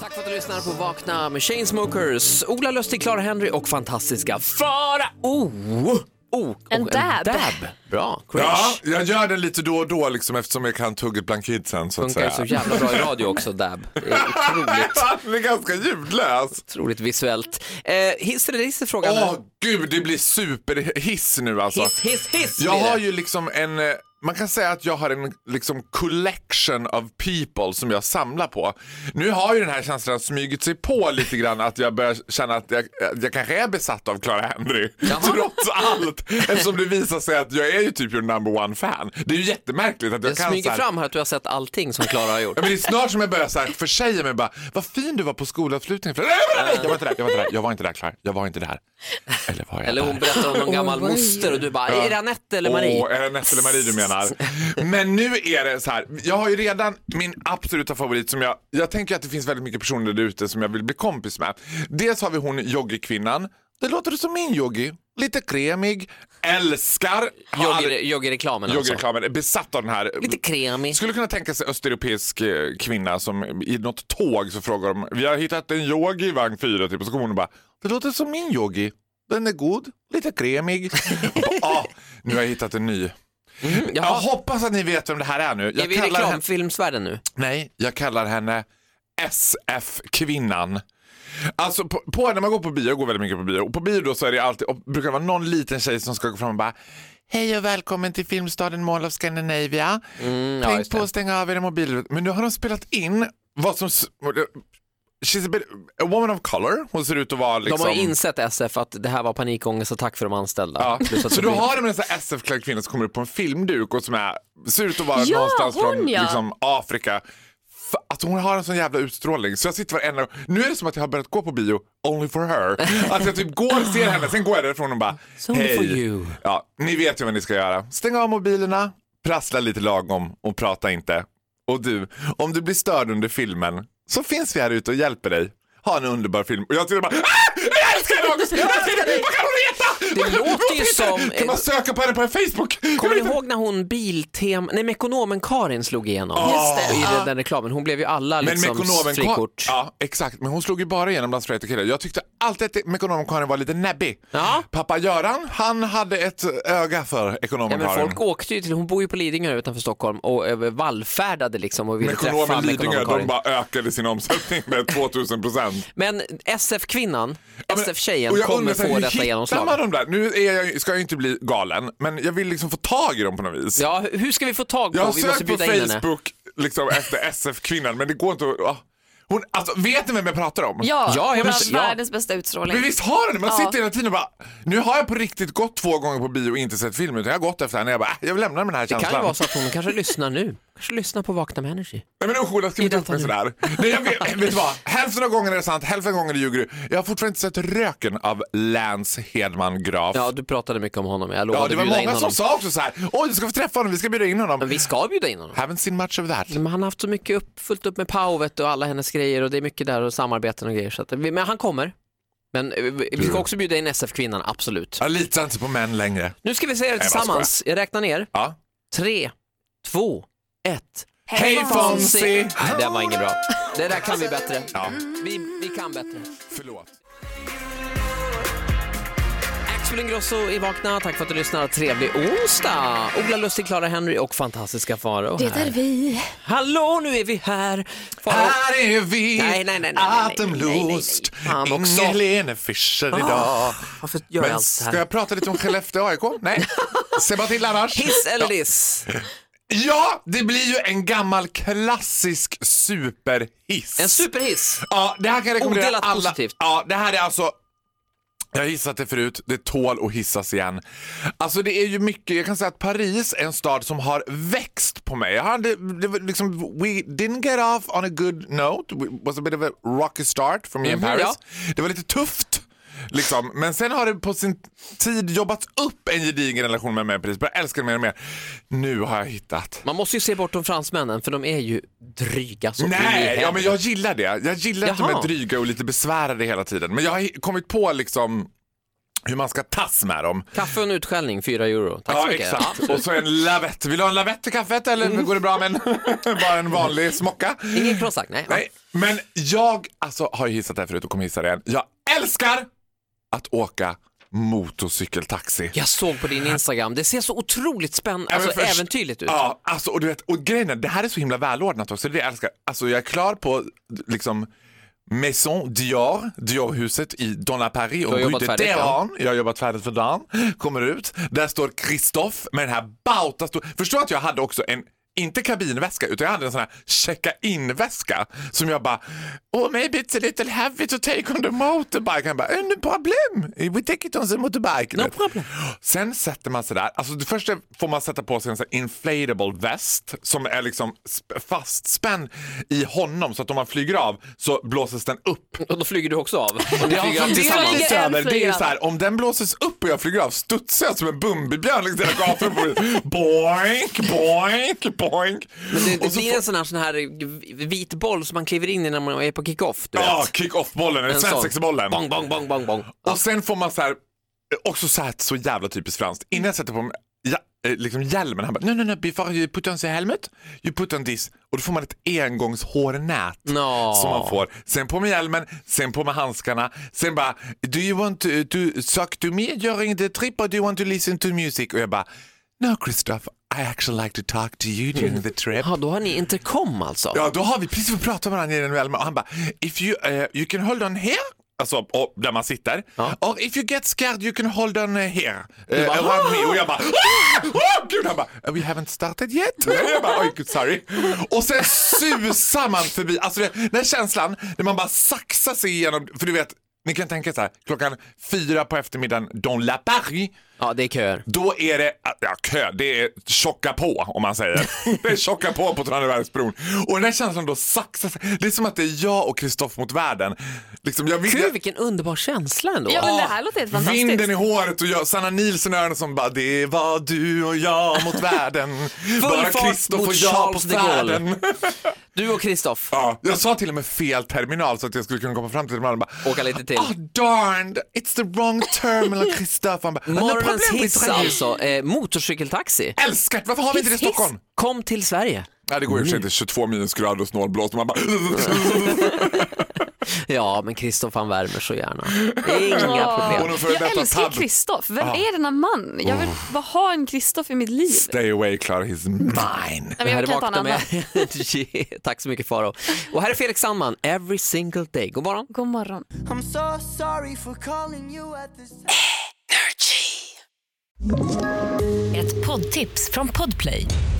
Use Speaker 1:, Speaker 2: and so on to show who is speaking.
Speaker 1: Tack för att du lyssnar på Vakna med Chainsmokers, Ola Lustig, Clara Henry och fantastiska Fara O. Oh,
Speaker 2: En dab.
Speaker 1: Bra, crash.
Speaker 3: Ja, jag gör den lite då och då liksom eftersom jag kan tugget bland kidsen så att
Speaker 1: Funkar
Speaker 3: säga.
Speaker 1: ju så jävla bra i radio också, dab. Det är otroligt,
Speaker 3: Den är ganska ljudlös.
Speaker 1: otroligt visuellt. Eh, hiss eller diss är frågan.
Speaker 3: Åh gud, det blir superhiss nu alltså.
Speaker 1: hiss, hiss, hiss
Speaker 3: Jag
Speaker 1: blir det.
Speaker 3: har ju liksom en, eh, man kan säga att jag har en liksom collection of people som jag samlar på. Nu har ju den här känslan smugit sig på lite grann att jag börjar känna att jag, att jag kanske är besatt av Clara Henry. Trots allt. Eftersom det visar sig att jag är ju typ your number one fan. Det är ju jättemärkligt att jag,
Speaker 1: Det
Speaker 3: kan så
Speaker 1: smyger
Speaker 3: här,
Speaker 1: fram här att du har sett allting som Klara har gjort.
Speaker 3: Ja, men det är snart som jag börjar så här försäga mig bara, vad fin du var på skolavslutningen. För- Nej, nej, nej, Jag var inte där, jag var inte där, jag var inte där Clara, jag var inte där. Eller var jag
Speaker 1: Eller
Speaker 3: där?
Speaker 1: hon berättar om någon gammal moster och du bara, är det Anette eller Marie?
Speaker 3: Åh, är det Nette eller Marie du menar? Men nu är det så här. Jag har ju redan min absoluta favorit som jag... Jag tänker att det finns väldigt mycket personer där ute som jag vill bli kompis med. Dels har vi hon yoggikvinnan. Det låter som min yogi. Lite kremig. Älskar. har aldrig-
Speaker 1: Jogger- Joggerreklamen alltså.
Speaker 3: Yogireklamen. Är besatt av den här.
Speaker 1: Lite kremig.
Speaker 3: Skulle kunna tänka sig östeuropeisk eh, kvinna som i något tåg så frågar de Vi har hittat en yogi i vagn 4 typ och så kommer hon och bara Det låter som min yogi. Den är god, lite kremig. Och bara, ah, nu har jag hittat en ny. Jag
Speaker 1: jaha.
Speaker 3: hoppas att ni vet vem det här är nu. Jag
Speaker 1: Är vi i
Speaker 3: kallar henne,
Speaker 1: reklamfilmsvärlden nu?
Speaker 3: nej, jag kallar henne SF-kvinnan. Alltså på, på, när man går på bio, jag går väldigt mycket på bio, och på bio då så är det alltid, och brukar det vara någon liten tjej som ska gå fram och bara Hej och välkommen till filmstaden Mall of Scandinavia.
Speaker 1: Mm,
Speaker 3: Tänk
Speaker 1: just
Speaker 3: på
Speaker 1: det.
Speaker 3: att stänga av era mobiler. Men nu har de spelat in vad som... s- She's a, bit, a woman of color. Hon ser ut att vara liksom...
Speaker 1: De har ju insett SF att det här var panikångest och tack för de anställda.
Speaker 3: Ja.
Speaker 1: Plus att
Speaker 3: Så
Speaker 1: det
Speaker 3: då
Speaker 1: blir-
Speaker 3: har de en sån här SF-klädd kvinna som kommer upp på en filmduk och som är, ser ut att vara
Speaker 2: Ja,
Speaker 3: någonstans
Speaker 2: hon,
Speaker 3: från
Speaker 2: ja.
Speaker 3: liksom, Afrika. F- Att hon har en sån jävla utstrålning. Så jag sitter varenda Nu är det som att jag har börjat gå på bio only for her. Att jag typ går och ser henne, sen går jag därifrån och bara
Speaker 1: So only
Speaker 3: hej.
Speaker 1: for you.
Speaker 3: Ja, ni vet ju vad ni ska göra. Stäng av mobilerna, prassla lite lagom och prata inte. Och du, om du blir störd under filmen så finns vi här ute och hjälper dig. Ha en underbar film. Och jag sitter bara ah! Jag älskar henne August! Jag älskar henne! Vad kan hon heta?
Speaker 1: Det låter ju som-
Speaker 3: Kan man söka på henne på Facebook?
Speaker 1: Kommer ni ihåg när hon biltem... Nej, Mekonomen Karin slog igenom
Speaker 2: Just det,
Speaker 1: i
Speaker 2: ja.
Speaker 1: den reklamen. Hon blev ju alla
Speaker 3: Men
Speaker 1: liksom
Speaker 3: Mekonomen
Speaker 1: frikort.
Speaker 3: Ja, exakt. Men hon slog ju bara igenom bland straighta killar. Jag tyckte alltid att Mekonomen Karin var lite näbbig.
Speaker 1: Ja.
Speaker 3: Pappa Göran, han hade ett öga för
Speaker 1: Ja,
Speaker 3: Ekonomen
Speaker 1: men
Speaker 3: Karin.
Speaker 1: folk åkte ju till, hon bor ju på Lidingö utanför Stockholm och över- vallfärdade liksom och ville träffa
Speaker 3: Mekonomen Lidingö,
Speaker 1: Mekonomen Karin.
Speaker 3: de bara ökade sin omsättning med 2000 procent.
Speaker 1: Men SF-kvinnan, SF-tjejen
Speaker 3: Och jag
Speaker 1: kommer
Speaker 3: undrar så här,
Speaker 1: få
Speaker 3: hur
Speaker 1: detta
Speaker 3: hittar
Speaker 1: genomslag.
Speaker 3: Man de där? Nu är jag, ska jag ju inte bli galen, men jag vill liksom få tag i dem på något vis.
Speaker 1: Ja, hur ska vi få tag på?
Speaker 3: jag har
Speaker 1: vi måste
Speaker 3: sökt på
Speaker 1: bjuda in henne.
Speaker 3: Facebook liksom, efter SF-kvinnan, men det går inte att... ah. Hon, alltså, vet ni vem jag pratar om?
Speaker 2: Ja,
Speaker 1: Ja, jag
Speaker 2: hon
Speaker 1: vet- ja.
Speaker 2: har världens bästa utstrålning.
Speaker 3: Men visst har den Man
Speaker 2: Ja.
Speaker 3: sitter hela tiden och bara, nu har jag på riktigt gått två gånger på bio och inte sett filmen utan jag har gått efter henne. Jag bara, äh, jag vill lämna den här
Speaker 1: Det
Speaker 3: känslan.
Speaker 1: kan ju vara så att hon kanske lyssnar nu. Kanske lyssnar på Vakna med Energy.
Speaker 3: Nej men usch Ola, skriv
Speaker 1: I
Speaker 3: inte upp
Speaker 1: detta nu.
Speaker 3: mig sådär. Nej, jag vet, vet du vad? Hälften av gångerna är det sant, hälften av gångerna ljuger du. Jag har fortfarande inte sett röken av Lance Hedman Graf.
Speaker 1: Ja, du pratade mycket om honom. Jag lovade
Speaker 3: Ja, det var
Speaker 1: bjuda in
Speaker 3: många
Speaker 1: honom.
Speaker 3: som sa också så här. Oj, du ska få träffa honom, vi ska bjuda in honom.
Speaker 1: Men vi ska bjuda in honom.
Speaker 3: Haven't seen much of that.
Speaker 1: Men han har haft så mycket upp, fullt upp med Pau vet du, och alla hennes grejer och det är mycket där och samarbeten och grejer. Så att, vi- men han kommer. Men eh, vi vi ska också bjuda in SF-kvinnan, absolut.
Speaker 3: Jag litar inte på män längre.
Speaker 1: Nu ska vi säga det
Speaker 3: Nej, vad
Speaker 1: tillsammans. Jag räknar ner.
Speaker 3: Ja.
Speaker 1: Tre, två, ett.
Speaker 3: Hej Fonzie!
Speaker 1: Nej, den var ingen bra. Det där kan vi bättre.
Speaker 3: Ja,
Speaker 1: Vi, vi kan bättre.
Speaker 3: förlåt.
Speaker 1: Axel Ingrosso i Vakna, tack för att du lyssnar. Trevlig onsdag! Ola Lustig, Clara Henry och fantastiska Faro
Speaker 2: Det
Speaker 1: här.
Speaker 2: är vi.
Speaker 1: Hallå, nu är vi här! Faro.
Speaker 3: Här är vi,
Speaker 1: Nej, nej, nej, nej, nej,
Speaker 3: Atemlust,
Speaker 1: nej, nej, nej. Fan också.
Speaker 3: Inge-Lene Fischer idag.
Speaker 1: Ah, Varför gör jag
Speaker 3: Men
Speaker 1: allt så
Speaker 3: ska
Speaker 1: här?
Speaker 3: jag prata lite om Skellefteå AIK? Nej, se bara till annars.
Speaker 1: Hiss eller diss?
Speaker 3: Ja, det blir ju en gammal klassisk superhiss.
Speaker 1: En superhiss.
Speaker 3: Ja, det här kan jag rekommendera
Speaker 1: Odelat
Speaker 3: alla.
Speaker 1: positivt.
Speaker 3: Ja, det här är alltså jag har hissat det förut, det tål att hissas igen. Alltså det är ju mycket, jag kan säga att Paris är en stad som har växt på mig. Jag hade, det var liksom, we didn't get off on a good note, it was a bit of a rocky start for me in
Speaker 1: Mhm,
Speaker 3: Paris.
Speaker 1: ja.
Speaker 3: Det var lite tufft. Liksom. Men sen har det på sin tid jobbats upp en gedigen relation med mig i Paris. Jag älskar det mer och mer. Nu har jag hittat.
Speaker 1: Man måste ju se bortom fransmännen för de är ju dryga som in i
Speaker 3: Nej, ja,
Speaker 1: helvete.
Speaker 3: men jag gillar det. Jag gillar att de
Speaker 1: Jaha.
Speaker 3: är dryga och lite besvärade hela tiden. Men jag har hi- kommit på liksom hur man ska tas med dem.
Speaker 1: Kaffe och en utskällning, 4 euro. Tack så
Speaker 3: Ja,
Speaker 1: mycket.
Speaker 3: exakt. Och så en lavett. Vill du ha en lavett till kaffet eller går det bra med en, bara en vanlig smocka?
Speaker 1: Ingen crossack, nej.
Speaker 3: Nej, men jag alltså, har ju hissat det här förut och kommer hissa det igen. Jag älskar att åka motorcykeltaxi.
Speaker 1: Jag såg på din Instagram, det ser så otroligt spännande,
Speaker 3: Ja, men
Speaker 1: alltså
Speaker 3: först-
Speaker 1: äventyrligt ut.
Speaker 3: Ja, alltså, och, du vet, och grejen är, det här är så himla välordnat också. Det är det jag älskar. Alltså, jag är klar på liksom Maison Dior, Diorhuset i Donna Paris och
Speaker 1: har
Speaker 3: Rue
Speaker 1: jobbat
Speaker 3: de
Speaker 1: färdigt, ja.
Speaker 3: Téhéran. Jag har jobbat färdigt för dagen. Kommer ut. Där står Christophe med den här bauta stor... Förstå att jag hade också en inte kabinväska, utan jag hade en sån här checka-in-väska som jag bara Oh, maybe it's a little heavy to take on the motorbike. Han bara, eh, no problem. We take it on the motorbike.
Speaker 1: No problem.
Speaker 3: Sen sätter man sig där. Alltså det första får man sätta på sig en sån här inflatable väst som är liksom sp- fastspänd i honom så att om man flyger av så blåses den upp.
Speaker 1: Och då flyger du också av. Och ni
Speaker 3: Jag
Speaker 1: flyger av
Speaker 3: funderar
Speaker 1: tillsammans.
Speaker 3: lite
Speaker 2: Flyger en,
Speaker 3: över. Det är ju
Speaker 2: flyger
Speaker 3: så här, om den blåses upp och jag flyger av studsar jag som en Bumbibjörn längs hela gatan. boink, boink, boink.
Speaker 1: Men det,
Speaker 3: Och
Speaker 1: det
Speaker 3: så
Speaker 1: blir en sån här, sån här vit boll som man kliver in i när man är på kick-off. Du vet.
Speaker 3: Ja, kick-off-bollen, eller
Speaker 1: En sån.
Speaker 3: svensexbollen.
Speaker 1: Bong, bong, bong, bong, bong.
Speaker 3: Och sen får man så här, också så här, så jävla typiskt franskt. Innan jag sätter på mig ja, eh, liksom hjälmen, han bara no, no, no, before you put on the helmet, you put on this. Och då får man ett engångshårnät
Speaker 1: Nå.
Speaker 3: som man får. Sen på med hjälmen, sen på med handskarna, sen bara do you want to, to talk to me during the trip or do you want to listen to music? Och jag bara no Christophe, I actually like to talk to you during the trip.
Speaker 1: Ja, då har ni intercom alltså.
Speaker 3: Ja, då har vi precis fått prata med varandra i den hjälmen och han bara if you, eh, you can hold on here Alltså och, där man sitter.
Speaker 1: Ja.
Speaker 3: Or if you get scared you can hold on eh, here. Eh,
Speaker 1: bara,
Speaker 3: around me. Och jag bara "Ah! oh, gud, han bara "Eh, we haven't started yet. jag bara oj gud sorry. Och sen susar man förbi, alltså det- den här känslan när man bara saxar sig igenom, för du vet ni kan tänka så här, klockan fyra på eftermiddagen, dans la Paris,
Speaker 1: Ja, det är köer.
Speaker 3: då är det ja, kö, det är tjocka på om man säger. Det är tjocka på på Tranebergsbron. Och den här känslan då saxar sig. Det är som att det är jag och Kristoff mot världen. Liksom, jag vill,
Speaker 1: Gud, vilken underbar känsla ändå.
Speaker 2: Ja, men det här låter helt fantastiskt.
Speaker 3: Vinden i håret och jag, Sanna Nilsson i öronen som bara det var du och jag mot världen. Bara
Speaker 1: fart
Speaker 3: Kristoff
Speaker 1: mot
Speaker 3: och jag på
Speaker 1: Charles de Gaulle.
Speaker 3: färden.
Speaker 1: Du och Kristoff.
Speaker 3: Ja, jag sa till och med fel terminal så att jag skulle kunna komma fram till terminalen och bara
Speaker 1: Åka lite till.
Speaker 3: Oh darned, it's the wrong terminal Kristoff. Han bara, "No problem,
Speaker 1: Morgonens
Speaker 3: we
Speaker 1: hiss
Speaker 3: try."
Speaker 1: alltså, eh, motorcykeltaxi.
Speaker 3: Älskat, varför har vi inte det i
Speaker 1: Hiss, hiss.
Speaker 3: Stockholm?
Speaker 1: Kom till Sverige.
Speaker 3: Ja, det går ju mm. inte 22 minusgrader och snålblåst och man bara...
Speaker 1: Ja, men Kristoff han värmer så gärna. Inga
Speaker 2: Åh.
Speaker 1: problem.
Speaker 3: Hon har före
Speaker 2: Jag
Speaker 3: detta
Speaker 2: älskar
Speaker 3: tab.
Speaker 2: Kristoff. Vem är denna man? Jag vill
Speaker 1: Oh.
Speaker 2: bara ha en Kristoff i mitt liv.
Speaker 3: Stay away, Clara, he's mine.
Speaker 2: Nej, men jag
Speaker 1: här
Speaker 2: kan inte ha en
Speaker 1: Vakna
Speaker 2: annan.
Speaker 1: med. Yeah, Tack så mycket Faro. Och här är Felix Sandman, Every single day. God morgon.
Speaker 2: God morgon.
Speaker 4: I'm so sorry for calling you at this time.
Speaker 5: Ett poddtips från Podplay.